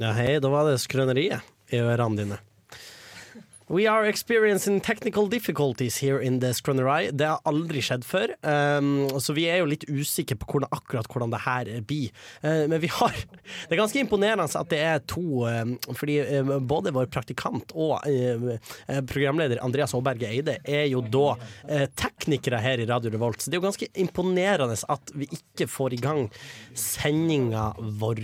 Ja, hei, da var det skrøneriet i ørene dine. We are experiencing technical difficulties here in the Scrunnery. Det har aldri skjedd før, um, så vi er jo litt usikre på hvordan, akkurat hvordan det her blir. Eh, men vi har Det er ganske imponerende at det er to, um, fordi eh, både vår praktikant og eh, eh, programleder Andreas Aaberge Eide er jo da eh, teknikere her i Radio Revolt, så det er jo ganske imponerende at vi ikke får i gang sendinga vår.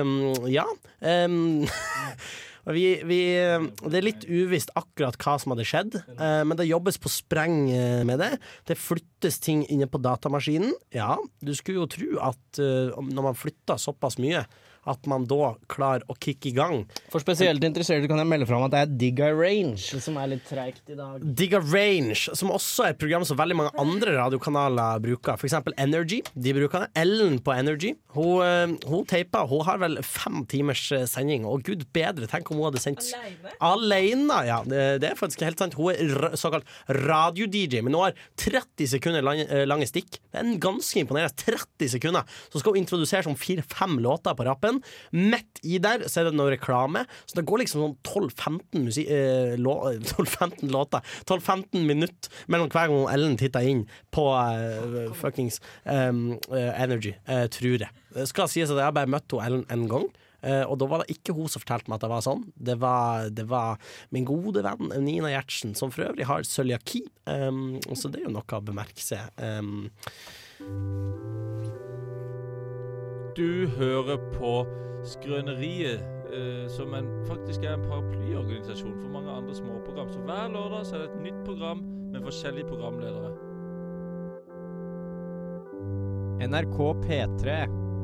Um, ja. Um, Og Vi, vi, eh, det er litt uvisst akkurat hva som hadde skjedd, eh, men det jobbes på spreng eh, med det. Det flyttes ting inne på datamaskinen. Ja, du skulle jo tro at eh, om- når man flytter såpass mye, at man da klarer å kicke i gang. For spesielt interesserte kan jeg melde fra om at det er Digga Range som er litt treigt i dag. Digga Range, som også er et program som veldig mange andre radiokanaler bruker. For eksempel Energy. De bruker det. Ellen på Energy. Hun, eh, hun teiper. Hun har vel fem timers eh, sending, og gud bedre, tenk om hun hadde sendt Alene? Alene, ja. Det, det er faktisk helt sant. Hun er ra- såkalt radio-DJ, men hun har 30 sekunder lang, eh, lange stikk. Det er en ganske imponerende 30 sekunder. Så skal hun introdusere sånn fire-fem låter på rappen. Midt i der så er det noe reklame, så det går liksom sånn 12-15 musi- eh, lå- 12-15 låter. 12-15 minutter mellom hver gang Ellen titter inn på eh, fuckings em, eh, Energy, eh, tror jeg. Det skal sies at jeg har bare møtt henne Ellen en gang. Eh, og da var det ikke hun som fortalte meg at det var sånn. Det var, det var min gode venn Nina Gjertsen, som for øvrig har cøliaki. Um, så det er jo noe å bemerke seg. Um, Du hører på Skrøneriet, eh, som en, faktisk er en paraplyorganisasjon for mange andre småprogram. Så hver lørdag så er det et nytt program med forskjellige programledere. NRK P3,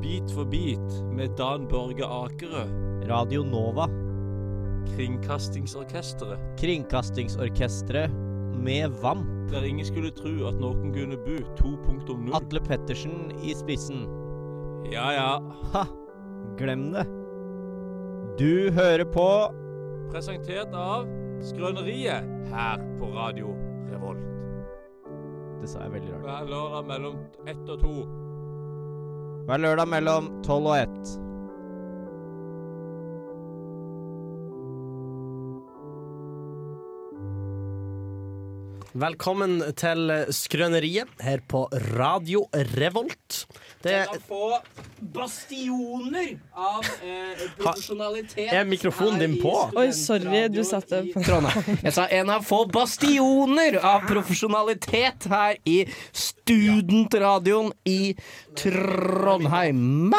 Bit for bit med Dan Børge Akerø, Radio Nova, Kringkastingsorkesteret. Kringkastingsorkestret med VAMP. Der ingen skulle tro at noen kunne bo 2.0. Atle Pettersen i spissen. Ja, ja. Ha! Glem det. Du hører på Presentert av Skrøneriet her på Radio Revolt. Det sa jeg veldig rart. Hver lørdag mellom ett og to. Hver lørdag mellom tolv og ett. velkommen til Skrøneriet her på Radio Revolt. Det få bastioner av eh, profesjonalitet er mikrofonen din på? Oi, sorry, du satte på Trondheim. Jeg sa en av få bastioner av profesjonalitet her i studentradioen i Trondheim.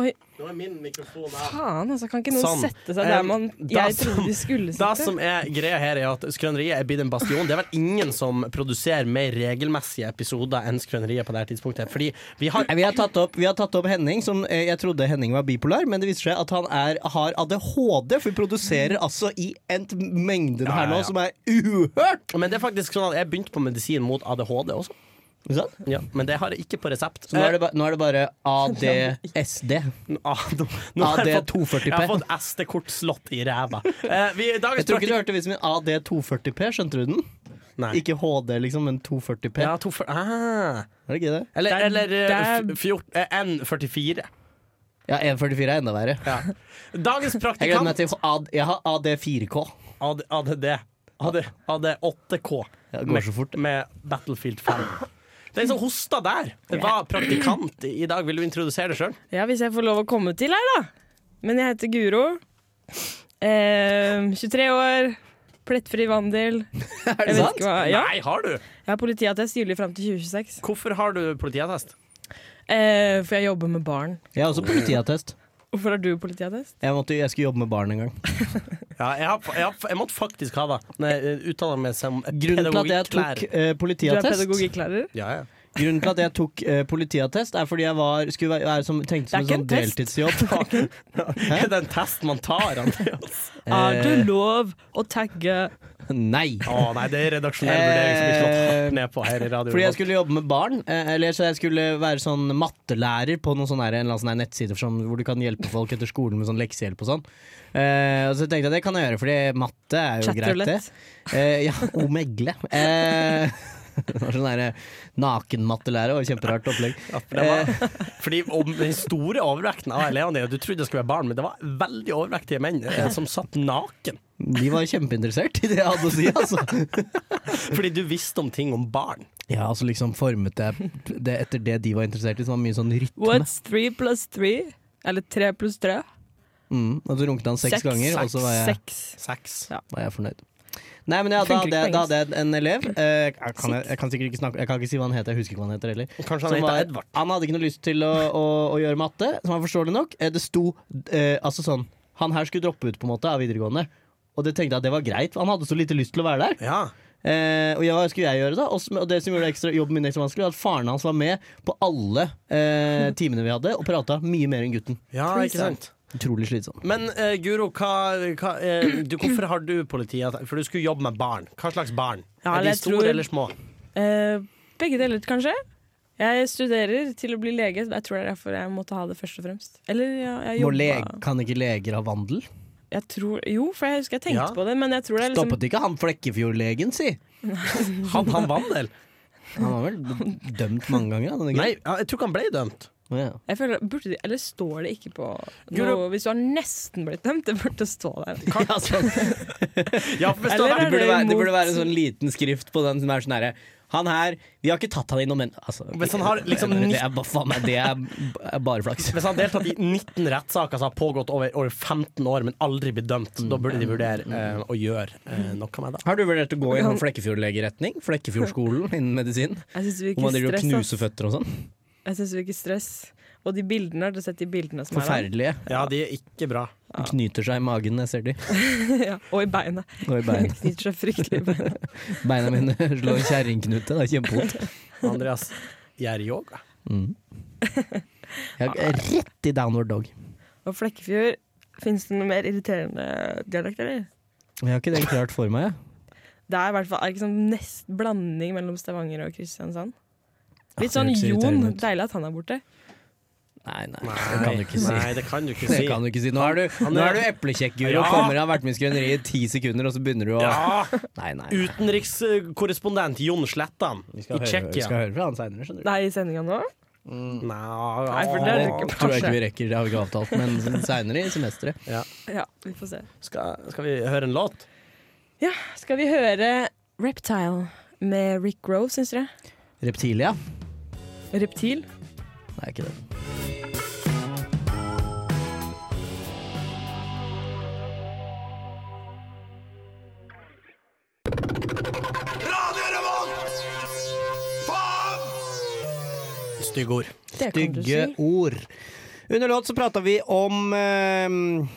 Oi, Nå er min mikrofon av. faen, altså. Kan ikke noen Sånn. sette seg der Em, man da Jeg som- trodde de skulle Det sitte. som er greia her er at Skrøneriet er blitt en bastion. Det er vel ingen som produserer mer regelmessige episoder enn Skrøneriet på det her tidspunktet. Fordi vi har Nei, Vi har, tatt opp, vi har tatt opp Henning, som eh, jeg trodde Henning var bipolar, men det viser seg at han er, har ADHD, for vi produserer altså i en t- mengde Ja, her ja, nå ja. som er uhørt! Men det er faktisk sånn at jeg begynte på medisin mot ADHD også. Ikke sant? Ja, men det har jeg ikke på resept. Så nå er, det ba, nå er det bare ADSD. Eh, ah, nå, nå har jeg fått- AD240P. Jeg har fått SD-kort slått i ræva. Eh, vi, dagens Jeg tror ikke du praktik- hørte vitsen min AD240P, skjønte du den? Nei. Ikke HD, liksom, men 240P. Ja, to for, ah. Er det ikke det? Eller, Der- eller eh, der- f- fjort- eh, N44. Ja, 144 er enda verre. Ja. Dagens Jeg gleder meg praktikant til AD, Jeg har AD4K. AD, ADD. AD, AD8K. Ja, det går så fort. Med Battlefield 5. Den som hosta der, var praktikant i dag. Vil du introdusere deg sjøl? Ja, hvis jeg får lov å komme til her, da. Men jeg heter Guro. Eh, 23 år. Plettfri vandel. Er Jeg det vet sant? ikke hva Ja, Nei, har du? jeg har politiattest gyldig fram til 2026. Hvorfor har du politiattest? Eh, for jeg jobber med barn. Jeg har også politiattest. Hvorfor har du politiattest? Jeg, måtte, jeg skulle jobbe med barn en gang. Ja, jeg, har, jeg, har, jeg måtte faktisk ha det. Når jeg eh, uttaler meg som Grunnen til at jeg tok pedagogikklærer. eh, Du er politiattest pedagogikklærer? Ja, ja. Grunnen til at jeg tok eh, politiattest, er fordi jeg var, skulle være, være som, trengte som Det er en sånn ikke en test. deltidsjobb. Er det en test man tar, Andreas? Er Eh, det lov å tagge Nei! Å nei, det er redaksjonell vurdering som blir slått hardt ned på her i radio. Fordi jeg skulle jobbe med barn, eh, eller så jeg skulle være sånn mattelærer på noen sånne, her- en eller annen sånn her nettside for sånn, hvor du kan hjelpe folk etter skolen med sånn leksehjelp og sånn. Eh, og så tenkte jeg det kan jeg gjøre, fordi matte er jo greit, det. chatterulett? Eh, ja, omegle. Eh, Det var sånn derre nakenmattelære. Det var Kjemperart opplegg. Det var, Eh. fordi om den store overvekten av elevene dine Du trodde det skulle være barn, men det var veldig overvektige menn eh, som satt naken. De var kjempeinteressert i det jeg hadde å si, altså. Fordi du visste om ting om barn. Ja, altså liksom formet jeg det etter det de var interessert i, som var mye sånn rytme. What's three plus three? Eller tre pluss tre? Mm, og så runket han seks, Seks, ganger, og seks, så var jeg, Seks. Sex. var jeg fornøyd. Nei, men ja, da Funker ikke hadde jeg- på da hadde jeg en elev. Eh, jeg, kan, jeg, jeg kan sikkert ikke snakke Jeg kan ikke si hva han heter, jeg husker ikke hva han heter heller. Kanskje Som han var- heter Sånn, Edvard. han hadde ikke noe lyst til å, å, å gjøre matte, som var forståelig nok. Eh, Det sto eh, altså sånn Han her skulle droppe ut på en måte av videregående. Og det tenkte jeg at det var greit, for han hadde så lite lyst til å være der. Ja. Eh, og ja, hva skulle jeg gjøre da? Og, som, og det som gjorde ekstra, jobben min ekstra vanskelig, var at faren hans var med på alle eh, timene vi hadde, og prata mye mer enn gutten. ja, Threesome. ikke sant. Utrolig slitsom. Men eh, Guro, hva, hva, eh, du, hvorfor har du politiet? For du skulle jobbe med barn. Hva slags barn? Ja, er de jeg store tror- eller små? Eh, begge deler, kanskje. Jeg studerer til å bli lege. Jeg tror det er derfor jeg måtte ha det først og fremst. Eller ja, jeg Må jobba leg- kan ikke leger ha vandel? jeg tror, Jo, for jeg husker jeg tenkte Ja. på det, men jeg tror det er liksom Stoppet ikke han Flekkefjord-legen, si? Hadde han vandel? Han var vel dømt mange ganger? hadde han ikke? Nei, ja, jeg tror ikke han ble dømt. Å, ja. jeg føler, burde, de- Eller står det ikke på Guro- noe Hvis du har nesten blitt dømt, det burde stå der. Ja, altså. sånn. Ja, for hvis det hadde det, Eller vært- burde være, det burde imot? være en sånn liten skrift på den som er sånn herre Han her Vi har ikke tatt han innom, men altså, Hvis han har liksom det, er, bare- faen meg, det er b- er bare flaks. hvis han har deltatt i 19 rettssaker som har pågått over, over 15 år, men aldri blitt dømt, da burde de vurdere eh, å gjøre eh, noe med det. Har du vurdert å gå i en sånn Flekkefjord-legeretning? Flekkefjordskolen innen medisin? Jeg syns vi Hvor man driver ikke og stress. ass. knuser føtter og sånn? Jeg synes vi ikke stress. Og de bildene, har du sett de bildene som er der? Forferdelige. Ja, de er ikke bra. De Knyter seg i magen, jeg ser de. ja, og i beina. Og i Det beina. knyter seg fryktelig i beina. Beina mine slår kjerringknute. Det er kjempevondt. Andreas gjør yoga. Mm. Jeg er rett i downward dog. Og Flekkefjord, fins det noe mer irriterende dialekt, eller? Jeg har ikke det klart for meg. jeg. Det er i hvert fall er det ikke sånn nest blanding mellom Stavanger og Kristiansand. Litt Ah, sånn det høres Jon. irriterende ut. Deilig at han er borte. Nei, nei, det kan du ikke si. Nei, det kan du ikke Det si. kan du ikke si. Nå er du, nå er du eplekjekk, Guro. Ja. Kommer av vært med i Skrøneriet i ti sekunder, og så begynner du å Ja! Nei, nei. nei. Utenrikskorrespondent Jon Slettan Vi i skal, høre, vi skal Tsjekkia. høre fra han seinere, skjønner du. Det er i sendinga nå. Nei, Nei, for det er det ikke Tror jeg ikke vi rekker, det har vi ikke avtalt, men seinere i semesteret. Ja, vi får se. skal, skal vi høre en låt? Ja, skal vi høre Reptile med Rick Rose, syns dere? Reptilia? Reptil. Nei, ikke det. Stygge ord. Det kan du si. Stygge ord. Under låt så prata vi om eh,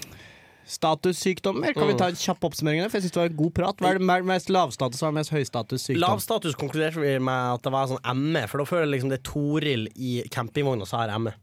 statussykdommer. Kan vi ta en kjapp oppsummering? av det? For jeg synes det var en god prat. Hva er det mer- mest lavstatus og hva er det mest høystatussykdom? Lav status konkluderte vi med at det var sånn ME, for da føler jeg liksom det er Toril i campingvogna som har ME.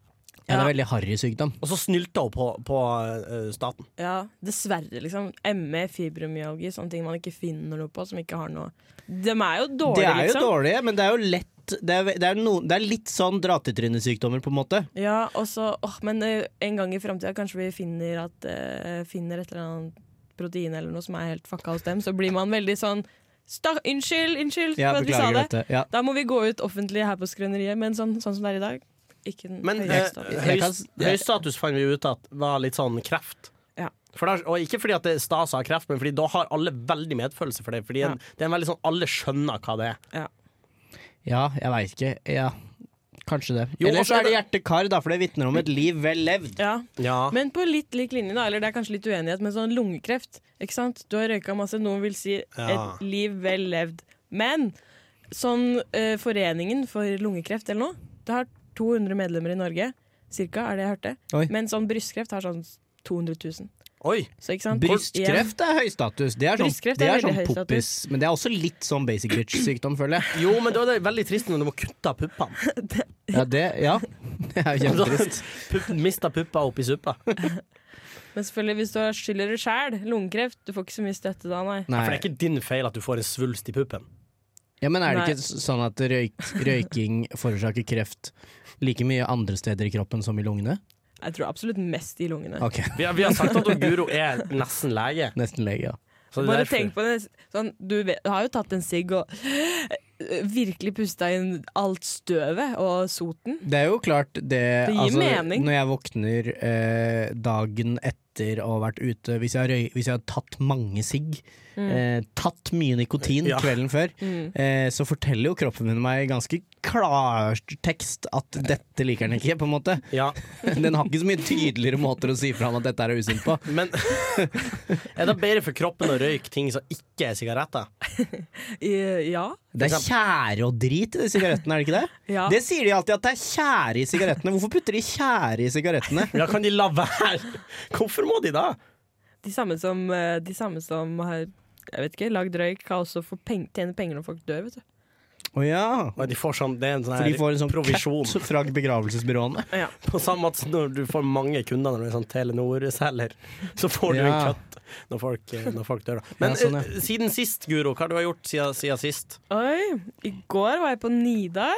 Ja, det er veldig harry sykdom. E. Og så snylta hun på, på eh, staten. Ja, dessverre, liksom. ME, fibromyalgi, sånne ting man ikke finner noe på, som ikke har noe De er jo Det dårlige, er jo liksom. dårlige, men det er jo lett Det er, det er, noen, det er litt sånn dra-til-trynet-sykdommer, på en måte. Ja, og så åh, Men eh, en gang i framtida kanskje vi finner, at, eh, finner et eller annet protein eller noe som er helt fucka hos dem, så blir man veldig sånn Sta Unnskyld, unnskyld Ja, for at vi sa beklager det. dette. Ja. Da må vi gå ut offentlig her på Skrøneriet, men sånn, sånn som det er i dag ikke den Men eh, høyeste av- Jeg høy, kan s- høy status fant vi ut at var litt sånn kreft. Ja. For da- og ikke fordi at det er stas å ha kreft, men fordi da har alle veldig medfølelse for det. Fordi en, det er en veldig sånn Alle skjønner hva det er. ja, jeg veit ikke. Ja, kanskje det. Jo, Eller også så altså, er er det hjerte-kar, da, for det vitner om et liv vel levd. ja. Ja. Ah. Men på litt lik linje, da. Eller det er kanskje litt uenighet, men sånn lungekreft. Ikke sant? Du har røyka masse, noen vil si Ja. et liv vel levd. Men sånn eh, Foreningen for lungekreft eller noe, det har 200 medlemmer i Norge. Cirka, er det jeg hørte. Oi. Men sånn brystkreft har sånn 200 000. Oi! Så ikke sant? Igjen. Brystkreft er høy status. Det er sånn, Brystkreft det er er sånn veldig høy status. poppis. Men det er også litt sånn basic bitch-sykdom, føler jeg. Jo, men da er det veldig trist når du må kutte av puppene. Ja, det, ja. det Altså, er jo kjempetrist. Pupp, mista puppa oppi suppa. Men selvfølgelig, hvis du har skyld i det sjæl, lungekreft, du får ikke så mye støtte da, nei. Nei. For det er ikke din feil at du får en svulst i puppen. Ja, men er det Nei. ikke s- sånn at røyk, røyking forårsaker kreft like mye andre steder i kroppen som i lungene? Jeg tror absolutt mest i lungene. Ok, Vi, har- vi har sagt at Guro er nesten lege. nesten lege, ja. Så det er Bare derfor- tenk på det. Sånn, du, vet, du har jo tatt en sigg og eh, virkelig pusta inn alt støvet og soten. Det er jo klart det altså, Det gir mening. Når jeg våkner eh, dagen etter å ha vært ute Hvis jeg har, røy, hvis jeg har tatt mange sigg, eh, tatt mye nikotin Ja. kvelden før, Mm. eh, så forteller jo kroppen min meg i ganske klar tekst at dette liker den ikke, på en måte. Ja, Den har ikke så mye tydeligere måter å si fra om at dette er usunt på. men Er det bedre for kroppen å røyke ting som ikke er sigaretter? I- Ja. Det er tjære og drit i de sigarettene, er det ikke det? ja. Det sier de alltid, at det er tjære i sigarettene. Hvorfor putter de tjære i sigarettene? Ja, kan de la være? Hvorfor må de da? De, samme som, eh, de samme som har jeg vet ikke, lagd røyk, kan også få peng tjene penger når folk dør. vet du. Å ja. Og de får sånn, det er en sånn For de her får en sånn provisjon. cut fra begravelsesbyråene. Ja. På samme måte som når du får mange kunder når du er sånn Telenor-selger, så får du en Ja. cut når folk, eh, når folk dør. da. Men Ja, sånn, ja. eh, siden sist, Guro, hva har du har gjort siden, siden sist? Oi, I går var jeg på Nidar,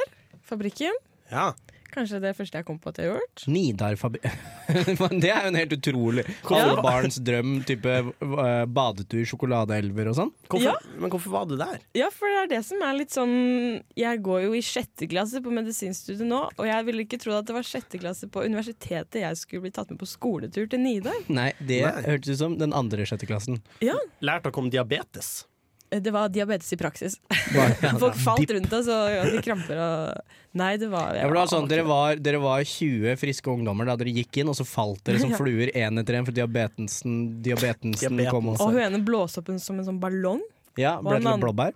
fabrikken. Ja. Kanskje det første jeg kom på at jeg har gjort. Nidarfabi... Men det er jo en helt utrolig Ja. Alle barns drøm, type eh, badetur, sjokoladeelver og sånn. Hvorfor, Ja. Men hvorfor var du der? Ja, for det er det som er litt sånn Jeg går jo i sjette klasse på medisinstudiet nå, og jeg ville ikke trodd at det var sjette klasse på universitetet jeg skulle bli tatt med på skoletur til Nidar. Nei, det Nei. hørtes ut som den andre sjetteklassen. Ja, Lært dere om diabetes? Eh, Det var diabetes i praksis. Ja, Folk falt rundt oss og hadde kramper og Nei, det var for det var sånn, dere, var, dere var 20 friske ungdommer da dere gikk inn, og så falt dere som fluer én etter én, for diabetensen, diabetensen Diabetens. kom også. Og hun ene blåste opp en, som en sånn ballong. Ja, og ble en til et annen- blåbær.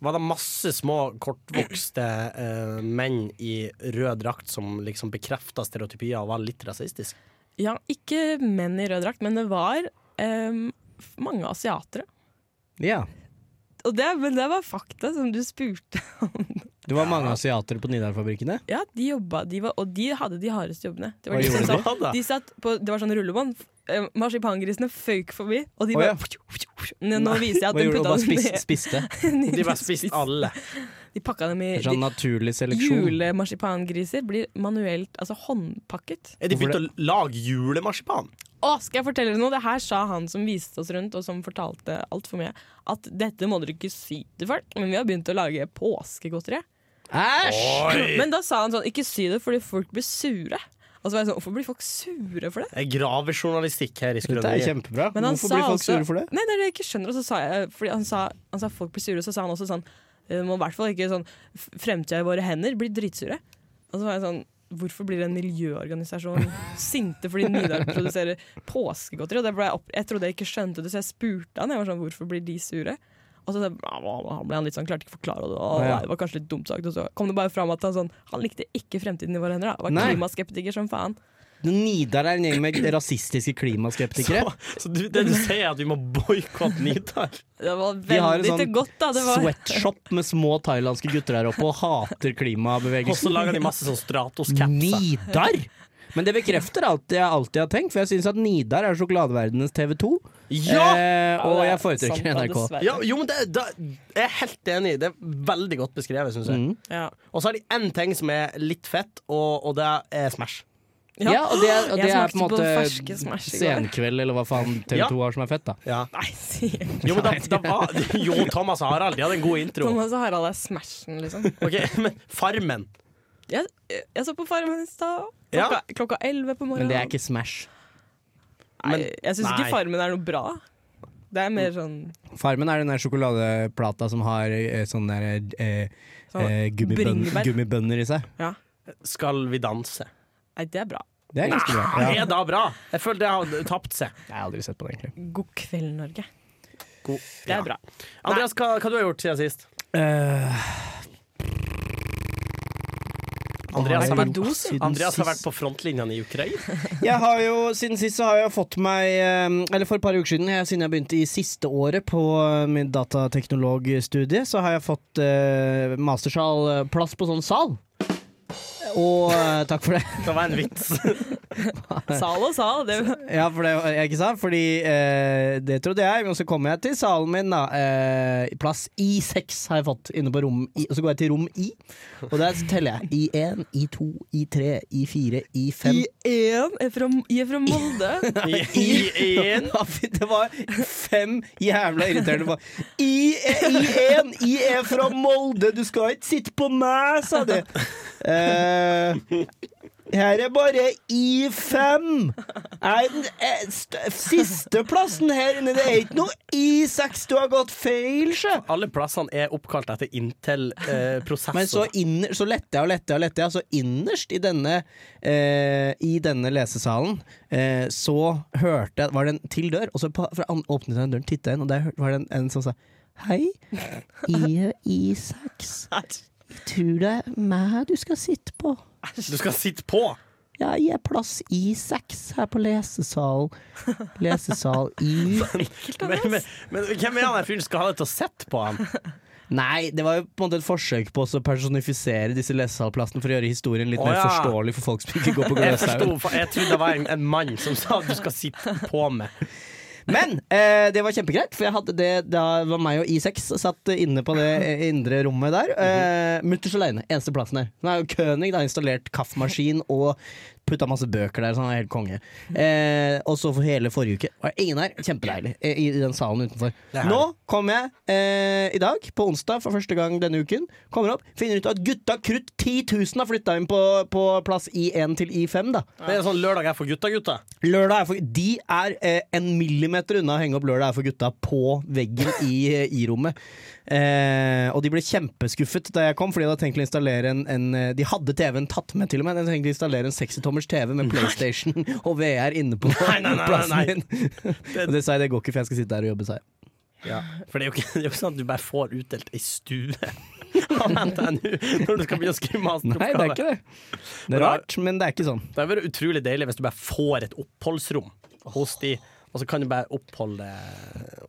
Var det masse små, kortvokste eh, menn i rød drakt som liksom bekrefta stereotypier og var litt rasistisk? Ja, ikke menn i rød drakt, men det var ehm, f- mange asiatere. Ja. Og det, men det var fakta som du spurte. Det var mange asiater på Nidarfabrikkene. Ja, de jobba, de var, og de hadde de hardeste jobbene. Det Hva var, de som gjorde satt, Ja, da. de satt på, det var sånn rullebånd. Eh, Marsipangrisene føyk forbi, og de Å, bare ja. Nå- Nå viser jeg at Hva de gjorde du? putta Bare dem spiste? ned. spiste. De bare spiste alle. De pakka dem Det i er de, Sånn naturlig seleksjon. Julemarsipangriser blir manuelt, altså håndpakket. Er de Hvorfor begynt å lage julemarsipan? Å, skal jeg fortelle dere noe? Det her sa han som viste oss rundt, og som fortalte altfor mye, at dette må dere ikke si til folk, men vi har begynt å lage påskegodteri. Æsj! Men da sa han sånn, ikke si det fordi folk blir sure. Og så var jeg sånn, hvorfor blir folk sure for det? Det er Gravejournalistikk her i Dette er Skrøneriet. kjempebra. Men han Hvorfor sa blir folk også- sure for det? Nei, det er det jeg ikke skjønner. Og så sa jeg, fordi han sa, han sa folk blir sure, og så sa han også sånn, «Eh, må i hvert fall ikke sånn, f- fremtida i våre hender blir dritsure. Og så var jeg sånn, hvorfor blir en miljøorganisasjon sinte fordi Nidar produserer påskegodteri? Og det ble jeg, opp, jeg trodde jeg ikke skjønte det, så jeg spurte han, jeg var sånn, hvorfor blir de sure? Og så ja, ble han litt sånn, klarte ikke å forklare det, og Å, ja. det var kanskje litt dumt sagt. Og så kom det bare fram at han sånn, han likte ikke fremtiden i våre hender da, var Nei. klimaskeptiker som faen. Nidar er en gjeng med rasistiske klimaskeptikere. Så, så du, det du sier er at vi må boikotte Nidar? Det var De har en veldig sånn til godt da, det var... Sweatshop med små thailandske gutter her oppe og hater Og så klimabevegelsen. lager de masse sånn Stratos-capser. Nidar! Men det bekrefter alt jeg alltid har tenkt, for jeg syns at Nidar er sjokoladeverdenens TV 2. Ja! Eh, og jeg Ja, det er sant, foretrekker da, NRK. dessverre. ja! Jo, men det, det, jeg er helt enig. Det er veldig godt beskrevet, syns jeg. Mm. Ja. Og så har de én ting som er litt fett, og, og det er Smash. Ja. Ja, og det, og Jeg det er på en smakte på måte ferske Smash i går. Senkveld, eller hva faen TV 2 har som er fett, da. Ja. Nei, sier Jo, men da, da var Jo, Thomas og Harald, de hadde en god intro. Thomas og Harald er smashen, liksom. Ok, men Farmen. Jeg, jeg så på Farmen i stad. Ja. Klokka- Klokka elleve på morgenen. Men det er ikke Smash. Nei, men- jeg syns nei. ikke Farmen er noe bra. Det er mer sånn, Farmen er den der sjokoladeplata som har eh, sånne der, eh, sånn eh, gummibønn, bringebær. gummibønner i seg. Skal vi danse? Nei, det er bra. Det er ganske bra. Det Ja. er da bra! Jeg føler det har tapt seg. Jeg har aldri sett på det, egentlig. God kveld, Norge. God- Det er bra. Andreas, hva, hva du har du gjort siden sist? Eh. Andreas har, Nei, vært, do, si. siden Andreas har vært sist. på frontlinjene i Ukraina. Jeg har jo, Siden sist så har jeg fått meg eh, Eller for et par uker siden, jeg, siden jeg begynte i siste året på eh, min datateknologstudie, så har jeg fått eh, mastersal, eh, plass på sånn sal. og eh, takk for det. Det var en vits. Sal og sal. Det, Ja, for det var ikke sant? Fordi eh, det trodde jeg, men så kom jeg til salen min, da. Eh, plass I6 har jeg fått inne på rom I, og så går jeg til rom I, og der teller jeg. I1, I2, I3, I4, I5. I én er fra, I er fra Molde. I, i, en. Ja, fy, Det var fem jævla irriterende bare, I, e, I en, I er fra Molde, du skal ikke sitte på meg, sa de. Eh, her er bare I5. Nei, den eh, st- siste plassen her inne, det er ikke noe I6, du har gått feil, sjø. Alle plassene er oppkalt etter eh, Intel-prosessor. Men så, inner, så lette jeg og lette jeg og lette jeg, så innerst i denne, eh, i denne lesesalen eh, så hørte jeg Var det en til dør? Og så på, fra an, åpnet jeg den døren, titta inn, og der hør- var det en, en som sa Hei, jeg er Isaks. Tror det er meg du skal sitte på. Du skal sitte på! Ja, jeg er plass I6 her på lesesalen. Lesesal I Men, men, men hvem er han der fyren som skal ha deg til å sitte på han? Nei, det var jo på en måte et forsøk på å personifisere disse lesesalplassene for å gjøre historien litt Å, mer ja. forståelig for folk som ikke går på Jeg Gløshaugen. forsto, for jeg trodde det var en, en mann som sa du skal sitte på meg. Men eh, det var kjempegreit, for jeg hadde det da var meg og I6 satt inne på det eh, indre rommet der. Mhm. Eh, Mutters aleine, eneste plassen der. Nå er jo König da, installert kaffemaskin og putta masse bøker der, så han er helt konge. Eh, og så for hele forrige uke var ingen her. Kjempedeilig. eh, I, i den salen utenfor. Det er herlig. Nå kom jeg eh, i dag, på onsdag for første gang denne uken, kommer opp, finner ut at gutta krutt 10 000 har flytta inn på, på plass I1 til I5, da. Det er sånn lørdag er for gutta, gutta. Lørdag er for, De er eh, en millimeter unna å henge opp 'Lørdag er for gutta' på veggen i, i rommet. Eh, og de ble kjempeskuffet da jeg kom, Fordi de hadde tenkt å installere en, en eh, De hadde TV-en tatt med, til og med. De hadde tenkt å installere en 60-tommers TV med PlayStation og VR inne på Nei, nei, nei, nei, plassen nei. min. og det sa jeg, det går ikke, for jeg skal sitte der og jobbe, sa jeg. For det er jo ikke, det er jo ikke sånn at du bare får utdelt ei stue av NTNU når du skal begynne å skrive Nei, det er masteroppgave. ikke det. Det er rart, men det er ikke sånn. Det hadde vært utrolig deilig hvis du bare får et oppholdsrom hos de, og så kan du bare oppholde,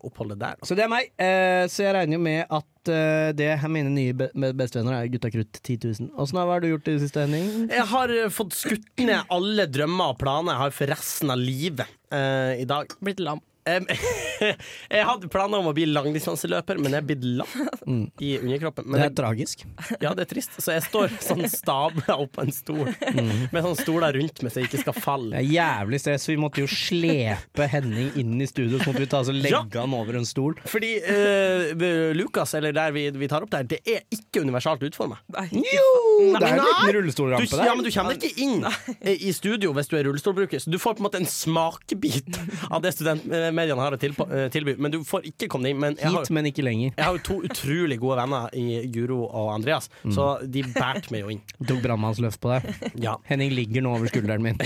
oppholde der. altså. Så det er meg. Eh, så jeg regner jo med at eh, det er mine nye be be- bestevenner er Gutta Krutt 10 000. Åssen har hva har du gjort i det siste, Henning? Jeg har eh, fått skutt ned alle drømmer og planer jeg har for resten av livet eh, i dag. Blitt lam. Em, jeg hadde planer om å bli langdistanseløper, men jeg er blitt lam i underkroppen. Men det jeg, er tragisk. ja, det er trist, så jeg står sånn stabla oppå en stol Mm. med sånn stoler rundt meg så jeg ikke skal Det falle. er jævlig stress. Vi måtte jo slepe Henning inn i studio, så måtte vi ta oss og legge han over en stol. Fordi eh, Lukas, eller der vi, vi tar opp der, det er ikke universalt utforma. Nei. Jo! Det er jo en Nei! liten rullestolrampe Du, der. ja, men du kommer deg ikke inn eh, i studio hvis du er rullestolbruker, så du får på en måte en smakebit av det studentmediene har å tilpa- eh, tilby. Men du får ikke komme deg inn. Men jeg har, Hit, men ikke lenger. jeg har jo to utrolig gode venner i Guro og Andreas, så de bærte meg jo inn. Jeg tok brannmannsløft på deg. Mm. Ja. Henning ligger nå over skulderen min.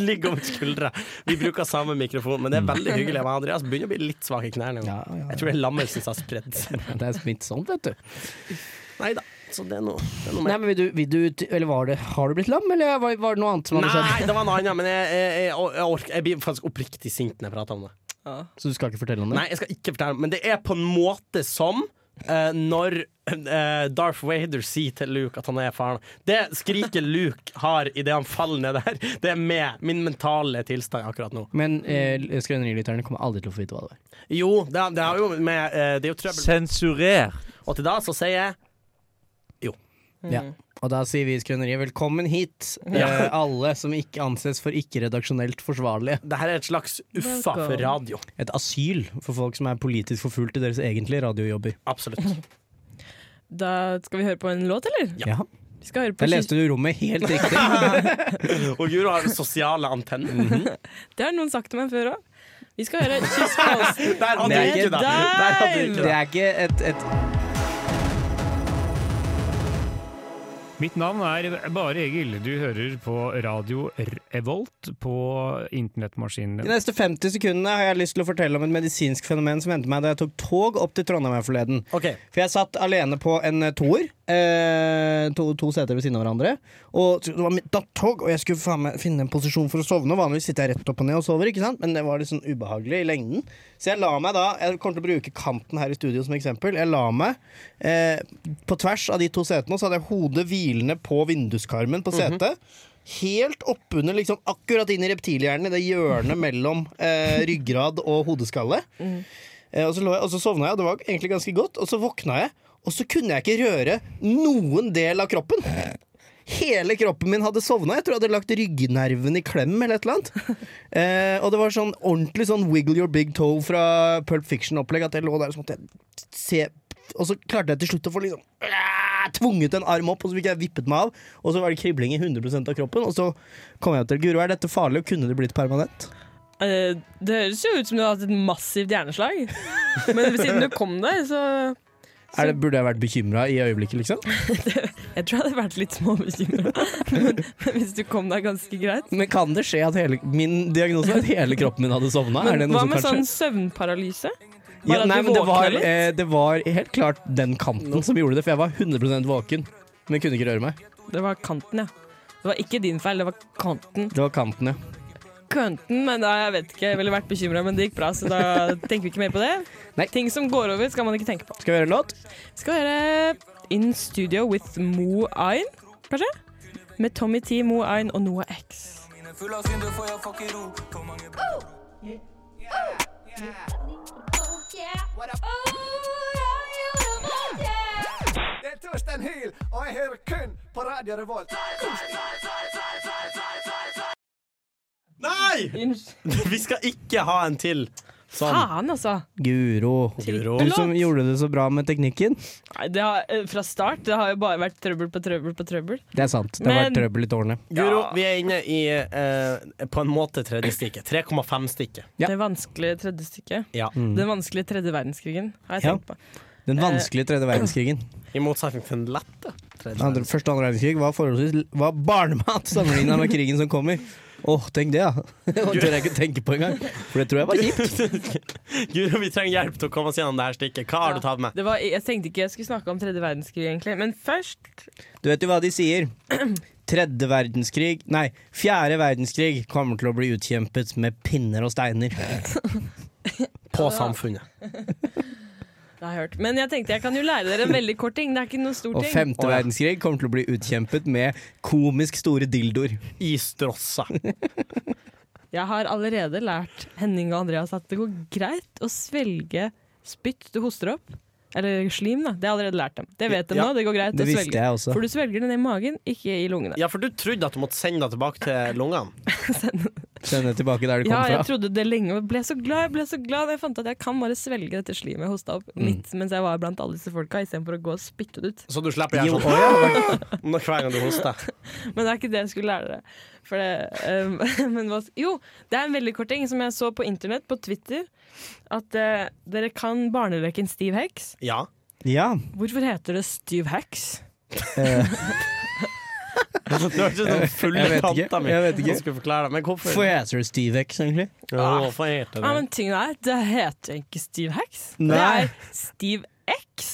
Ligg over skuldra. Vi bruker samme mikrofon, men det er veldig hyggelig. Men Andreas begynner å bli litt svak i knærne. nå. Ja, ja, ja. Jeg tror det er lammelsen som har spredd seg. Det er smittsomt, vet du. Nei da. Så det er noe, det er noe Nei, mer. men vil du, vil du ut- Eller var det Har du blitt lam, eller var, var det noe annet som hadde skjedd? Nei, det var noe annet, men jeg, jeg, jeg, jeg, orker, jeg blir faktisk oppriktig sint når jeg prater om det. Ja. Så du skal ikke fortelle om det? Nei, jeg skal ikke fortelle Men det er på en måte som eh, Når eh, Darth Vader sier til Luke at han er faren Det skriket Luke har i det han faller ned der Det er med min mentale tilstand akkurat nå Men eh, skrønerilytterne kommer aldri til å få vite hva det var. Jo, det, det, har jo med, eh, det er jo trøbbel Sensurer. Og til da så sier jeg Ja. Og da sier vi i Skrøneriet velkommen hit, eh, alle som ikke anses for ikke-redaksjonelt forsvarlige. Dette er et slags uffa for Welcome. radio Et asyl for folk som er politisk forfulgt i deres egentlige radiojobber. Absolutt Da skal vi høre på en låt, eller? Ja. Ja. Vi skal høre på Der leste du rommet helt riktig. Og Juro har sosiale antenner Det har noen sagt til meg før òg. Vi skal høre Kyss på oss. Der hadde Nei, du ikke da Der hadde du ikke Det da er ikke et, et Mitt navn er Bare Egil. Du hører på radio Revolt på internettmaskinen De din. neste 50 sekundene har jeg lyst til å fortelle om et medisinsk fenomen som hendte meg da jeg tok tog opp til Trondheim her forleden. Ok, For jeg satt alene på en eh, toer. Eh, to, to seter ved siden av hverandre. Og det var mitt nattog, og jeg skulle faen meg finne en posisjon for å sovne. Vanligvis sitter jeg rett opp og ned og sover, ikke sant? men det var litt sånn ubehagelig i lengden. Så jeg la meg da Jeg kommer til å bruke kanten her i studio som eksempel. Jeg la meg eh, på tvers av de to setene, og så hadde jeg hodet hvilende på vinduskarmen på setet. Helt oppunder, liksom akkurat inn i reptilhjernen, i det hjørnet mellom eh, ryggrad og hodeskalle. Eh, Og så, lå jeg, og så sovna jeg, og det var egentlig ganske godt. Og så våkna jeg, og så kunne jeg ikke røre noen del av kroppen. Hele kroppen min hadde sovna. Jeg tror jeg hadde lagt ryggnerven i klem. eller et eller annet. Eh, og det var sånn ordentlig sånn wiggle your big toe fra Pulp Fiction-opplegg. At jeg lå der og så måtte jeg se Og så klarte jeg til slutt å få liksom ah, tvunget en arm opp, og så fikk jeg vippet meg av. Og så var det kribling i 100 av kroppen. Og så kom jeg til Guro, er dette farlig, og kunne det blitt permanent? Eh, Det høres jo ut som du har hatt et massivt hjerneslag. Men siden du kom deg, så Er det, burde jeg vært bekymra i øyeblikket, liksom? Jeg tror jeg hadde vært litt småbekymra. Men, men hvis du kom deg ganske greit. Men kan det skje at hele, min diagnose er at hele kroppen min hadde sovna? Er det Men noe hva som med kanskje sånn søvnparalyse? Var ja, det at Nei, du men det våkna var, litt? eh, det var helt klart den kanten som gjorde det, for jeg var 100 våken. Men jeg kunne ikke røre meg. Det var kanten, ja. Det var ikke din feil, det var kanten. Det var kanten, ja. Kanten, men da, jeg vet ikke, jeg ville vært bekymra, men det gikk bra, så da tenker vi ikke mer på det. Nei. Ting som går over, skal man ikke tenke på. Skal vi høre en låt? Skal høre In Studio with Mo Ayn, kanskje? Med Tommy T, Mo Ayn og Noah X. Det er Torstein Hyl, og jeg hører kun på Radio Revolt. Nei! Vi skal ikke ha en til sånn. Faen, altså! Guro. Guro. Du som gjorde det så bra med teknikken. Nei, det har, eh, fra start det har jo bare vært trøbbel på trøbbel på trøbbel. Det er sant. Det har Men- vært trøbbel i tårnet. Guro, Ja. vi er inne i eh, på en måte tredje stikket. 3,5-stikket. Ja. Mm. Det vanskelige tredje stykket. Ja. Den vanskelige tredje verdenskrigen, har jeg Ja. tenkt på. Eh. Den vanskelige tredje verdenskrigen. I motsetning til den lette. tredje Andre, verdenskrig. første og andre verdenskrig var forholdsvis var barnemat sammenligna med krigen som kommer. Åh, tenk det, da. Det tør jeg ikke tenke på engang. For det tror jeg var kjipt. Guro, vi trenger hjelp til å komme oss gjennom det her stikket. Hva har du tatt med? Det var, jeg tenkte ikke jeg skulle snakke om tredje verdenskrig, egentlig. Men først Du vet jo hva de sier. Tredje verdenskrig Nei, fjerde verdenskrig kommer til å bli utkjempet med pinner og steiner. På samfunnet. Det har jeg hørt. Men jeg tenkte jeg kan jo lære dere en veldig kort ting. Det er ikke noe stor Og ting. femte Å, ja. verdenskrig kommer til å bli utkjempet med komisk store dildoer. I Strossa. Jeg har allerede lært Henning og Andreas at det går greit å svelge spytt du hoster opp. Eller slim, da. Det har jeg allerede lært dem. Det vet de Ja, nå. Det går greit Det å visste svelge. jeg også. For du svelger det ned i magen, ikke i lungene. Ja, for du trodde at du måtte sende deg tilbake til lungene. Send det tilbake der det Ja, kom jeg fra. trodde det lenge og ble så glad. Jeg ble så glad da jeg fant at jeg kan bare svelge dette slimet jeg hosta Mm. opp midt mens jeg var blant alle disse folka, istedenfor å gå og spytte det ut. Så du slipper å gjøre Jo, sånn når hver gang du hoster. Men det er ikke det jeg skulle lære dere. For det, um, men hva, jo, det er en veldig kort ting som jeg så på internett, på Twitter. At eh, dere kan barneleken Stiv heks. Ja. Ja. Hvorfor heter det Stiv heks? eh, Du har ikke sånn Jeg fulle vet ikke, tanta mi. jeg vet ikke. som skulle forklare det. Men hvorfor? Hvorfor heter det Stivex, egentlig? Ja, hvorfor heter Ja, det? men tingen er, det heter ikke Stiv heks. Det Nei. er Stiv X.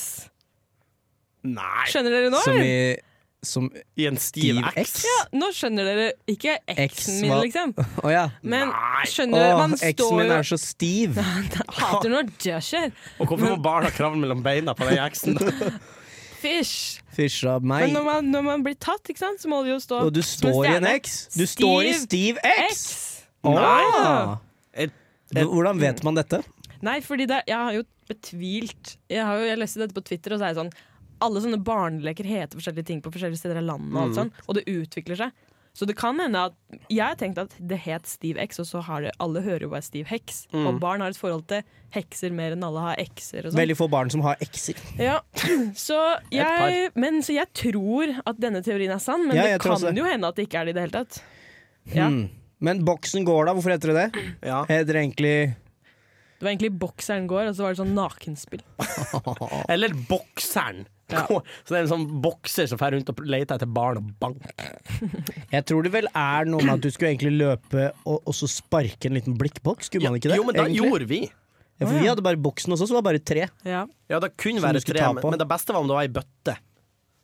Nei, Skjønner dere nå? Som eller? i som, i en stiv Stiv X. X? Ja, nå skjønner dere ikke X, X-en min, hva- liksom. Å ja. Men Nei. skjønner dere, Å, man X-en står min jo er så stiv. Hater når det skjer. Og hvorfor må barna kravle mellom beina på den X-en? Fish. Fysja meg. Men når man, når man blir tatt, ikke sant, så må det jo stå Og du som står i en stjerne. X. Du står i Stiv X! X. Å. Et- Ah. Sånn. Hvordan vet man dette? Nei, fordi det, jeg har jo betvilt Jeg har jo jeg leste dette på Twitter, og så er det sånn Alle sånne barneleker heter forskjellige ting på forskjellige steder i landet, og, Mm. alt sånn, og det utvikler seg. Så det kan hende at Jeg har tenkt at det het Steve X, og så har det, alle hører jo hva er Steve Hex. Og barn har et forhold til hekser mer enn alle har ekser og sånn. Mm. Veldig få barn som har X-er. Ja. Så, jeg, men, så jeg tror at denne teorien er sann, men Ja, det jeg tror kan også det. jo hende at det ikke er det i det hele tatt. Ja. Hmm. Men boksen går, da? Hvorfor heter det det? Ja. Heter det egentlig Det var egentlig bokseren går, og så var det sånn nakenspill. Eller bokseren. Ja. Så det er en sånn bokser som fer rundt og leter etter barn og banker. Jeg tror det vel er noe med at du skulle egentlig løpe og, og så sparke en liten blikkboks, skulle man ikke det? Jo, men da egentlig? gjorde vi. ja, for vi hadde bare boksen også, så var det bare tre. Ja. Ja, det kunne Som være du skulle tre, ta men på. men det beste var om det var ei bøtte.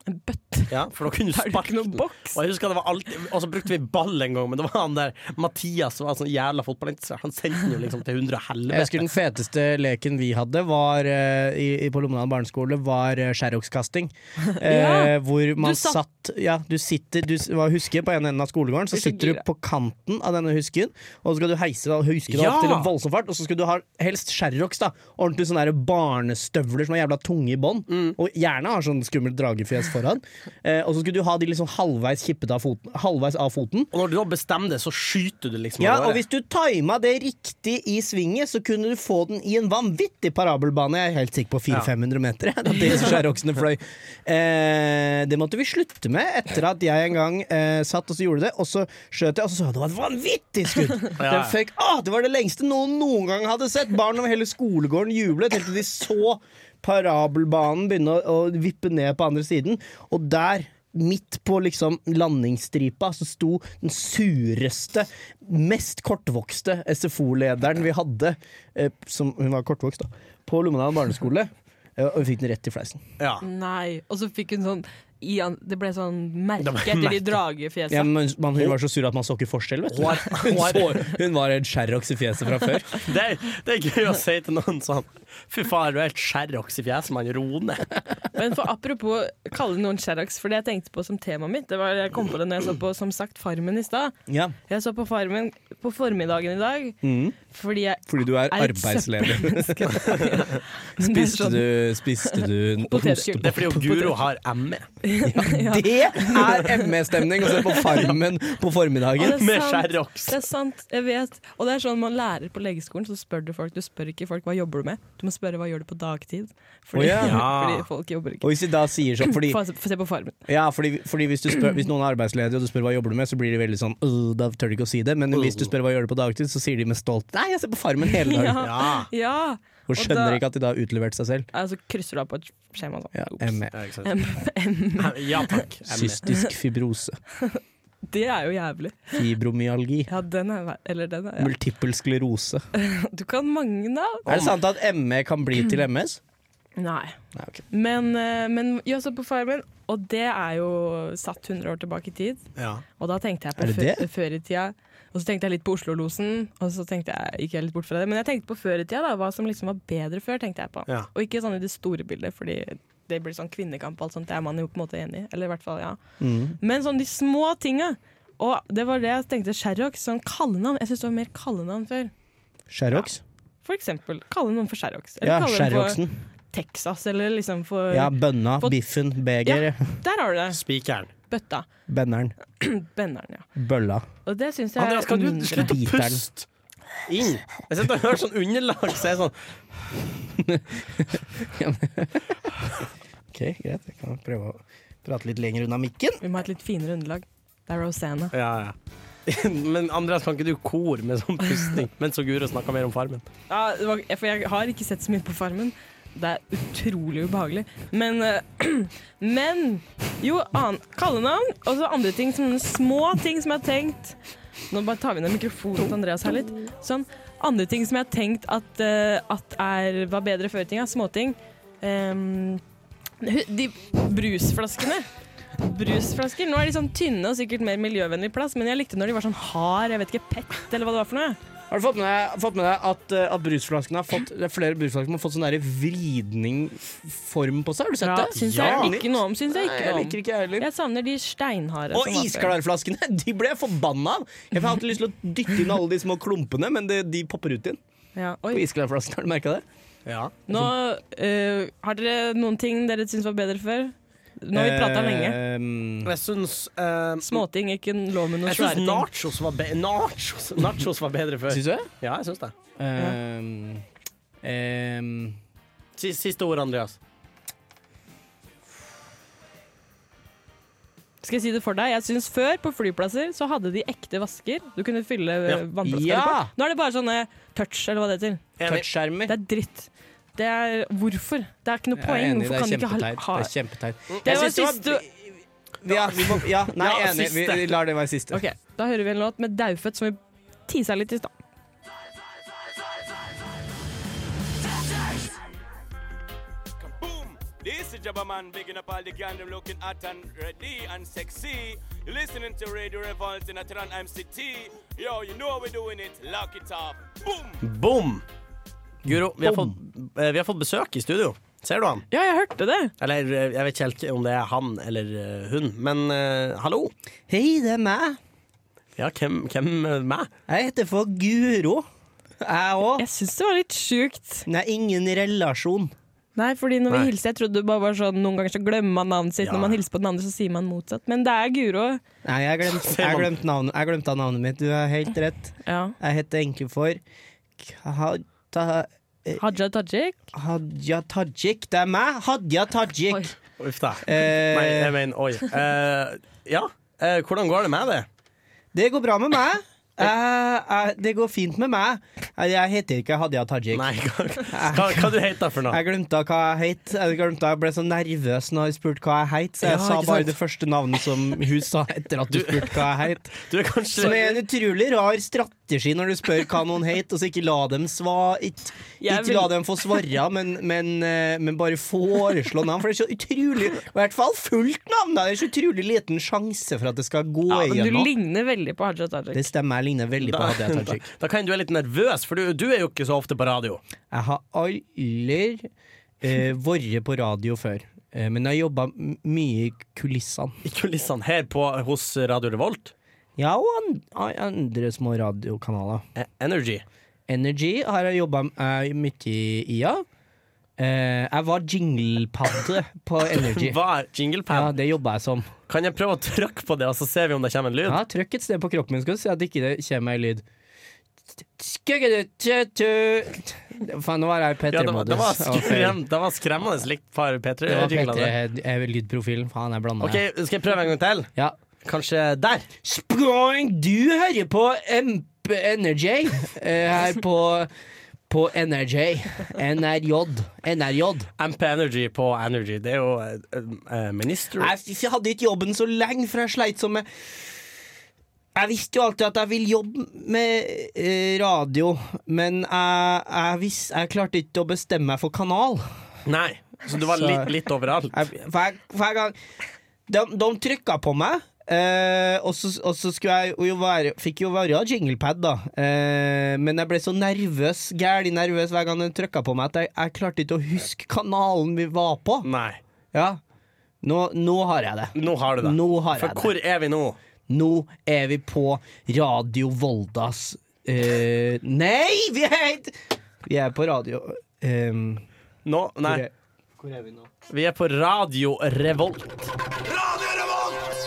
En bøtte. Ja, for da kunne du Det er jo sparke ikke noen boks. Og jeg husker det var alltid Og så brukte vi ball en gang, men det var han der Mathias som var sånn jævla fotballinteressert. Han sendte den jo liksom til hundre Jeg husker helvete. den feteste leken vi hadde var, eh, i, i- på Lommedal barneskole, var eh, skjærokskasting. Eh, Hvor man Du satt- satt Ja, du sitter Du s- var huske på en enden av skolegården, så Blir så sitter du gira. på kanten av denne husken, og så skal du heise deg og huske deg Ja! opp til en voldsom fart, og så skal du ha helst skjæroks, da. Ordentlig sånne der barnestøvler som er jævla tunge i bånd, Mm. og gjerne har sånn skummelt dragefjes foran. Eh, og så skulle du ha de liksom halvveis kippet av foten, halvveis av foten, Og når du da bestemmer det, så skyter du liksom. ja, av og gårde. hvis du tima det riktig i svinget, så kunne du få den i en vanvittig parabelbane. Jeg er helt sikker på 400-500 meter. jeg, da Det som skjæroksene fløy. Eh, det måtte vi slutte med etter at jeg en gang eh, satt og så gjorde det, og så skjøt jeg, og så så jeg det var et vanvittig skudd. Den fikk, ah, det var det lengste noen noen gang hadde sett. Barn over hele skolegården jublet helt til de så parabelbanen begynne å, å vippe ned på andre siden, og der Midt på liksom landingsstripa så sto den sureste, mest kortvokste SFO-lederen vi hadde, eh, som hun var kortvokst, da, på Lommedal barneskole. eh, Og hun fikk den rett i fleisen. ja. Nei. Og så fikk hun sånn i, an- Det ble sånn Det merke ble etter de merke. dragefjesene. Ja, men man, hun var så sur at man så ikke forskjell, vet du. Hår, Hun, hår. så, hun var en sherrox i fjeset fra før. Det, er, det er gøy å si til noen sånn Fy faen, du er helt skjærroks i fjeset, mann. Ro ned. Men for apropos kalle noen Sherrocks, for det jeg tenkte på som temaet mitt, det var jeg kom på det når jeg så på som sagt Farmen i stad. Ja. Jeg så på Farmen på formiddagen i dag fordi jeg Mm. Fordi du er, Er et arbeidsleder. Spiste sånn- du, spiste du Potetgull. Det er fordi jo Guro har E, ME. Ja. Det er ME-stemning å se på Farmen på Og formiddagen! det er Med sant. skjærroks. Det er sant, jeg vet. Og det er sånn man lærer på legeskolen, så spør du folk. Du spør ikke folk hva jobber du med, du må spørre hva gjør du på dagtid. Fordi, Å, ja. Ja. fordi folk jobber ikke. Og hvis de da sier sånn fordi, Få se- få se på Farmen. ja, fordi, fordi hvis, du spør, hvis noen er arbeidsledig og du spør hva jobber du med, så blir de veldig sånn «Øh, Da tør de ikke å si det. Men hvis du spør hva gjør du på dagtid, så sier de med stolt Nei, jeg ser på Farmen hele dagen. Ja. Ja. ja. Og og skjønner da- ikke at de da har utlevert seg selv. Altså krysser du av på et skjema sånn. Ja, Ops. ME. Ja, ikke sant. ja takk. E. E. ME. Cystisk fibrose. Det er jo jævlig. Fibromyalgi. Ja, den er Eller den er ja. Multippel sklerose. Du kan mange navn. Er det sant at ME kan bli til MS? Nei. Nei, ok. Men, eh, men jeg så på Farmen, og det er jo satt 100 år tilbake i tid. Ja. Og da tenkte jeg Er på det før, det? før i tida. Og så tenkte jeg litt på Oslo-losen, og så tenkte jeg, gikk jeg litt bort fra det. Men jeg tenkte på før i tida, da, hva som liksom var bedre før, tenkte jeg på. Ja. Og ikke sånn i det store bildet, fordi det blir sånn kvinnekamp og alt sånt, det er man jo på en måte enig i. Eller i hvert fall, ja. Mm. Men sånn de små tinga. Og det var det jeg tenkte. Sherrox, sånn kallenavn. Jeg syns det var mer kallenavn før. Sherrox? For eksempel kalle noen for Sherrox. Eller Ja, kalle Sherroxen. dem for Texas, eller liksom for Ja, bønna, for- biffen, beger, Der har du det. Spikeren. Bøtta. benneren, Benneren, ja. bølla. Og det syns jeg Andreas, er kan du mindre. slutte å Biteren. puste inn? Jeg sitter og hører sånn underlag så jeg er sånn Ok, greit. Jeg kan prøve å prate litt lenger unna mikken. Vi må ha et litt finere underlag. Det er Rosanna. Ja, ja. Men Andreas, kan ikke du kor med sånn pusting mens så Guro snakker mer om Farmen? Ja, det var, for jeg har ikke sett så mye på Farmen. Det er utrolig ubehagelig. Men, eh, men Jo, an, kallenavn og så andre ting. Sånne små ting som jeg har tenkt Nå bare tar vi ned mikrofonen til Andreas her litt. Sånn, andre ting som jeg har tenkt at, eh, at er, var bedre før i tida. Småting. Um, hu- de brusflaskene. Brusflasker. Nå er de sånn tynne og sikkert mer miljøvennlig plass, men jeg likte når de var sånn hard, jeg vet ikke, pett eller hva det var for noe. Har du fått med deg, fått med deg at, eh, at brusflaskene har fått det er flere brusflasker som har fått sånn der vridningform på seg? Har du sett Ja, det? syns jeg ikke noe om. Syns jeg Nei, ikke jeg noe liker om. ikke jeg heller. Jeg savner de steinharde. Og som var før. isklarflaskene! De ble jeg forbanna av! Jeg har alltid lyst til å dytte inn alle de små klumpene, men det, de popper ut igjen. Ja, På oi. isklarflaskene, har du merka det? Ja. Nå, eh, har dere noen ting dere syns var bedre før? Nå har vi prata Eh. lenge. lenge. Jeg syns eh, Småting, ikke lov med noen Jeg syns svære ting. nachos var, be nachos, nachos var bedre før. Syns du det? Ja, jeg syns det. Ehm, ehm, Si- Siste ord, Andreas. Skal jeg si det for deg? Jeg syns før, på flyplasser, så hadde de ekte vasker. Du kunne fylle eh, Ja. vannflasker Ja! på. Nå er det bare sånne touch, eller hva det heter. Enig. Touchskjermer. Det er dritt. Det er Hvorfor? Det er ikke noe Jeg er poeng. enig, det Hvorfor er kan de ikke ha, kjempeteit. ha Det er kjempeteit. Det Jeg var syns det var- siste Ja, vi må, ja, nei, Ja, enig. Vi, siste. vi lar det være siste. OK, da hører vi en låt med Daufødt som vi tisa litt i stad. This is Jabba Man, bigging up all the gang, I'm looking at and ready and sexy. You're listening to Radio Revolt in Atran MCT. Yo, you know how we're doing it. Lock it up. Boom! Boom! Guro, vi, har fått- eh, vi har fått besøk i studio. Ser du han? Ja, jeg hørte det! Eller eh, jeg vet ikke helt om det er han eller eh, hun, men eh, hallo. Hei, det er meg. Ja, hvem, hvem eh, meg? Jeg heter for Guro. Jeg òg. Jeg syns det var litt sjukt. Nei, ingen relasjon. Nei, fordi når Nei. vi hilser, jeg trodde det bare var sånn Noen ganger så glemmer man navnet sitt, Ja. når man hilser på den andre, så sier man motsatt. Men det er Guro. Nei, jeg glemte Ser man- jeg glemte navnet, jeg glemte navnet mitt. Du er helt rett. Ja. Jeg heter egentlig for Kata- Haja Tajik. Hadia Tajik. Det er meg, Hadia Oi. Tajik. Uff da. Nei, jeg Eh, mener oi. Eh, ja, eh, hvordan går det med det? det går bra med meg. Eh, eh, det går fint med meg. Eh, Jeg heter ikke Hadia Tajik. Nei, hva, hva, hva du heter for noe? Jeg glemte hva jeg het. Jeg glemte Jeg ble så nervøs når jeg spurte hva jeg het, så jeg Ja, sa ikke bare sant? det første navnet som hun sa etter at du spurte hva jeg het. Du er kanskje Som er en utrolig rar strategi når du spør hva noen het, og så ikke la dem sva... Ikke, Jeg ikke vil- la dem få svare, men, men, eh, men bare foreslå navn, for det er så utrolig I hvert fall fullt navn! da. Det er så utrolig liten sjanse for at det skal gå Ja, men du igjennom. ligner veldig på Haja Tajik. Det stemmer, jeg ligner veldig på da, Hadia da, Tajik. da kan du være litt nervøs, for du, du er jo ikke så ofte på radio. Jeg har aldri eh, vært på radio før, eh, men jeg har jobba m- mye i kulissene. I kulissene sånn her på, hos Radio Revolt. Ja, og an andre små radiokanaler. Eh, Energy. Energy har jeg jobba mye i, ja. Eh, jeg var jinglepadde på Energy. Hva er jinglepad? Ja, det jobba jeg som. Kan jeg prøve å trykke på det, og så ser vi om det kommer en lyd? Ja, Trykk et sted på kroppen min, skal du se at ikke det kommer ei lyd. Skuggedu-tu-tu. Faen, nå var jeg i Ja, det, var, det, var P3-modus. skrem, det var skremmende likt par P3. Det var jinglene. P3-lydprofilen. Faen, jeg blanda Ok, Skal jeg prøve en gang til? Ja. Kanskje der? Sprang, du hører på MP Energy eh, her på, på Energy. NRJ. NRJ. MP Energy på Energy. Det er jo eh, eh, Minister Jeg f- jeg hadde ikke jobben så lenge, for jeg sleit som med Jeg visste jo alltid at jeg ville jobbe med eh, radio, men jeg, jeg, vis, jeg klarte ikke å bestemme meg for kanal. Nei, så du var Så- litt, litt overalt. Jeg, hver, hver gang De, de trykka på meg. eh, og, så, og så skulle jeg jo være Fikk jo være jinglepad, da. Eh, men jeg ble så nervøs gærlig nervøs hver gang de trykka på meg, at jeg, jeg klarte ikke å huske kanalen vi var på. Nei. Ja Nå, nå har jeg det. Nå har du det. Nå har jeg For det. hvor er vi nå? Nå er vi på Radio Voldas eh, Nei, vi er ikke Vi er på radio ehm, Nå? Nei, hvor er- Hvor er vi nå? vi er på Radio Revolt. Radio Revolt!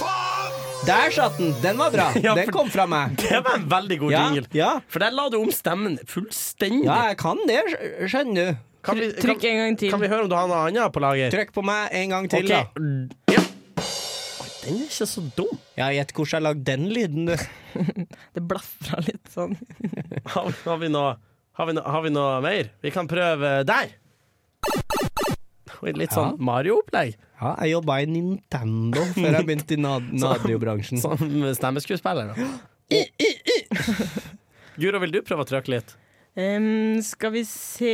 Faen! Der satt den! Den var bra. Ja, Den for- kom fra meg. Det var en veldig god Ja, jingle. ja. For der la du om stemmen fullstendig. Ja, jeg kan det, skj- skjønner du. Kan, vi, Trykk kan, en gang til. kan vi høre om du har noe annet på lager? Trykk på meg en gang til, Ok. da. Ja. Oi, Den er ikke så dum. Ja, Gjett hvordan jeg lagde den lyden, du. Det blafra litt sånn. Har, har, vi noe, har, vi noe, har vi noe mer? Vi kan prøve der. Oi, Litt sånn Mario-opplegg. Ja, jeg jobba i Nintendo før jeg begynte i nad radiobransjen. Som stemmeskuespiller. da. Guro, vil du prøve å trykke litt? Em, skal vi se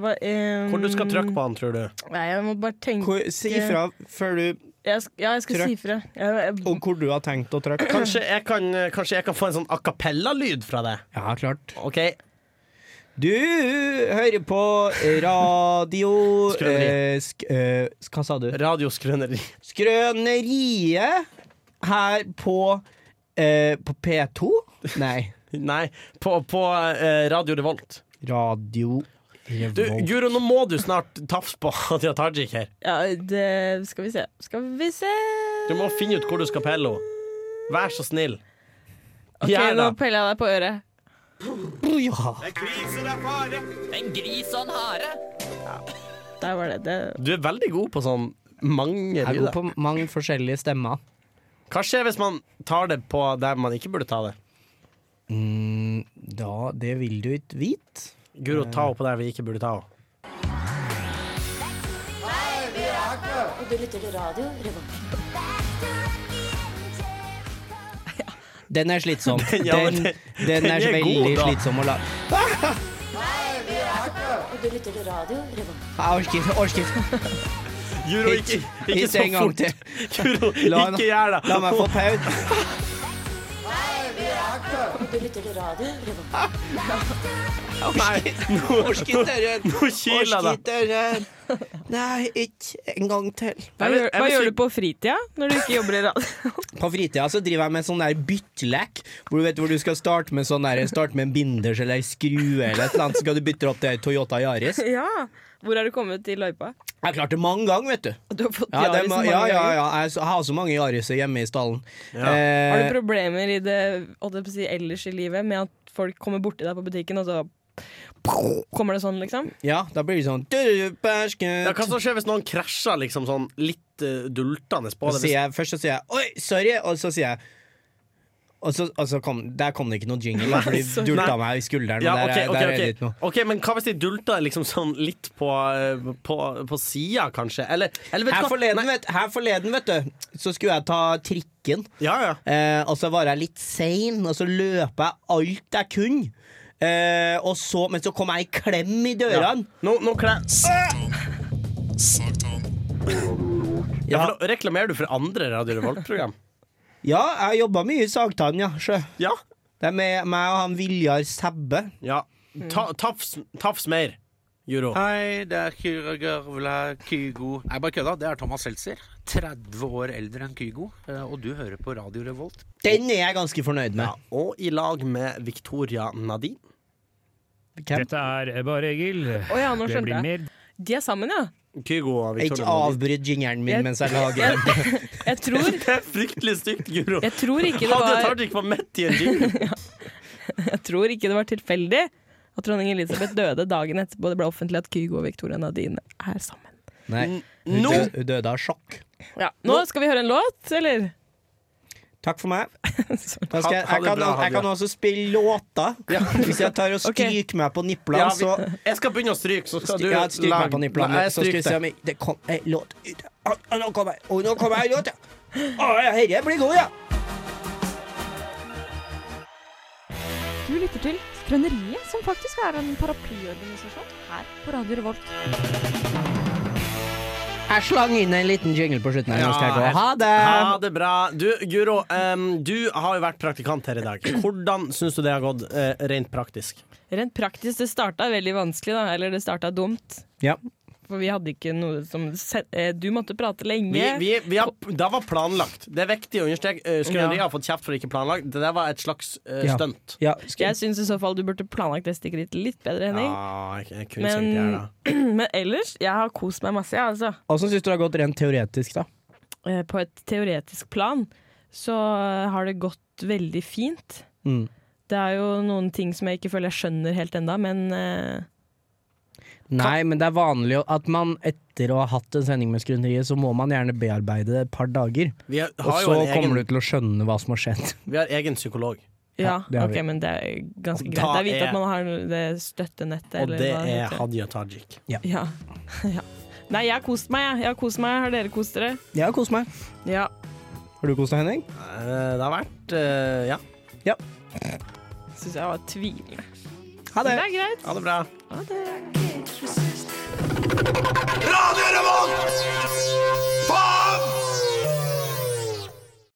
hva em, Hvor du skal trykke på han, tror du? Nei, jeg må bare tenke Hvor, si ifra før du jeg, sk- Ja, jeg skal Trykk. si ifra. Jeg, jeg, om hvor du har tenkt å trykke. Kanskje jeg kan, kanskje jeg kan få en sånn a cappella-lyd fra deg? Ja, klart. OK. Du hører på radio Skrøneri. eh, sk eh, s- Hva sa du? Radioskrøneri. Skrøneriet her på eh, På P2? Nei. Nei, på, på eh, Radio Revolt. Radio Du, Revolt. Guro, nå må du snart tafse på Hadia Tajik her. ja, det, skal vi se. Skal vi se Du må finne ut hvor du skal pelle henne. Vær så snill. Ok, Gjør Nå det. peller jeg deg på øret. Ja. Der var det. det. Du er veldig god på sånn mange Jeg er god lyder. på mange forskjellige stemmer. Hva skjer hvis man tar det på der man ikke burde ta det? Mm, da, det vil du ikke vite. Guro, ta henne på der vi ikke burde ta henne. Du lytter til radio Revolt. Den er slitsom. ja, men den, den- den den er, er god, veldig da. slitsom å lage. Og du lytter til Radio Revolt. Jeg orker ikke. orker ikke. Juro, ikke, ikke så en gang fort! til. Juro, La- ikke gjør La det! meg få pause. Og du lytter til Radio Revolt. Nei, nå, Orker ikke døren. nå kiler det. Orker ikke døren. Nei, ikke en gang til. Hva, gjør, hva gjør du på fritida når du ikke jobber i radio? På fritida så driver jeg med sånn der byttelek, hvor du vet hvor du skal starte med sånn der, starte med en binders eller en skrue eller et eller annet, så skal du bytte opp til Toyota Yaris. ja. Hvor er du kommet i løypa? Jeg har klart det mange ganger, vet du. Du har fått Ja, det Yaris må, mange ja, ja, ganger. ja. Jeg, så- jeg har så mange Yariser hjemme i stallen. Har Eh, du problemer i det holdt jeg på å si, ellers i livet med at folk kommer borti deg på butikken, og så kommer det sånn, liksom? ja, da blir det sånn du, Ja, hva bæsken. som skjer hvis noen krasjer liksom sånn litt eh, dultende på det? Så sier jeg, først så sier jeg 'oi, sorry', og så sier jeg og så, og så kom, Der kom det ikke noe jingle, da, for de sorry. dulta meg i skulderen. Ja, og der, ok, er- ok, der er ok. det ikke noe. ok, Men hva hvis de dulter liksom sånn litt på, eh, på, på sida, kanskje? Eller, eller vet Her du hva? forleden, vet, her forleden, vet du, så skulle jeg ta trikken. Ja, ja. Eh, og så var jeg litt sein, og så løp jeg alt jeg kunne. Eh, og så, men så kom jeg i klem i ja. dørene. Nå, nå klæ... Ja, Ja, for da reklamerer du for andre Radio Revolt-program? ja jeg jobba mye i Sagtann, ja. Sjø. Ja. Det er med meg og han Viljar Sæbbe. ja. Ta, tafs, tafs mer, Juro. Hei, det er Kyra Garvla Kygo. Nei, bare kødda. Det er Thomas Seltzer. 30 år eldre enn Kygo. eh, Og du hører på Radio Revolt. Den er jeg ganske fornøyd med. Ja, og i lag med Victoria Nadine. Hvem? Dette er bare Egil. Å ja, nå Det skjønte blir jeg. mer De er sammen, ja. Kygo og Ikke Victoria Nadine. avbryt jingeren min mens jeg lager den. Jeg tror, Det er fryktelig stygt, Juro. jeg tror, ikke, det Hadia var, Tajik var mett i en jingle. jeg tror ikke det var tilfeldig at dronning Elisabeth døde dagen etterpå det ble offentlig at Kygo og Victoria Nadine er sammen. Nei, hun Nå- dø- hun døde av sjokk. Ja, nå skal vi høre en låt, eller? Takk for meg. Da skal jeg, Ha- ha jeg, det kan, bra, Hadia. jeg kan også spille låter. Hvis jeg tar og Ok. stryker meg på niplene, Ja, vi, så jeg skal begynne å stryke, så skal du ja, stryk meg på nipplene. Nei, jeg Så skal vi se stryker om jeg- det kom ei låt ut. Å, å, Nå kommer jeg, nå kommer jeg en låt, ja. Å, ja, herre blir god, ja. Du lytter til Skrøneriet, som faktisk er en paraplyorganisasjon her på Radio Revolt. Jeg slang inn en liten jingle på slutten. her, Ja, nå skal jeg gå. Ha det. Ha det! det bra. Du, Guro, em, du har jo vært praktikant her i dag. Hvordan syns du det har gått eh, rent praktisk? Rent praktisk, det starta veldig vanskelig, da. Eller det starta dumt. Ja. For vi hadde ikke noe som se- eh, Du måtte prate lenge. Vi, vi, vi har, det var planlagt. Det er viktig å understreke. Eh, Skrøneriet har fått kjeft for ikke planlagt. Det der var et slags uh, Ja. stunt. Ja, Jeg skal, syns i så fall du burde planlagt det stikket ditt litt bedre, Henning. Ja, jeg, jeg kunne sikkert gjøre Men, det. men ellers, jeg har kost meg masse, jeg, altså. Åssen syns du det har gått rent teoretisk, da? Eh, På et teoretisk plan så eh, har det gått veldig fint. Mm. Det er jo noen ting som jeg ikke føler jeg skjønner helt enda, men eh, Nei, men det er vanlig å- at man etter å ha hatt en sending med Skrøneriet, så må man gjerne bearbeide det et par dager. Vi har, Og har jo så en kommer du egen, til å skjønne hva som har skjedd. vi har egen psykolog, ja, det har ok, vi. men det er ganske Og greit. da Det er viktig er- at man har det støttenettet. og eller det hva er heter. Hadia Tajik. ja. ja. Nei, jeg har kost meg, jeg. jeg har kost meg. Har dere kost dere? Jeg har kost meg. Ja. Har du kost deg, Henning? Eh, det har vært eh, Ja, Syns jeg var tvilende. Ha Men det. det er greit. ha det bra. Ha det. Radio Revolt!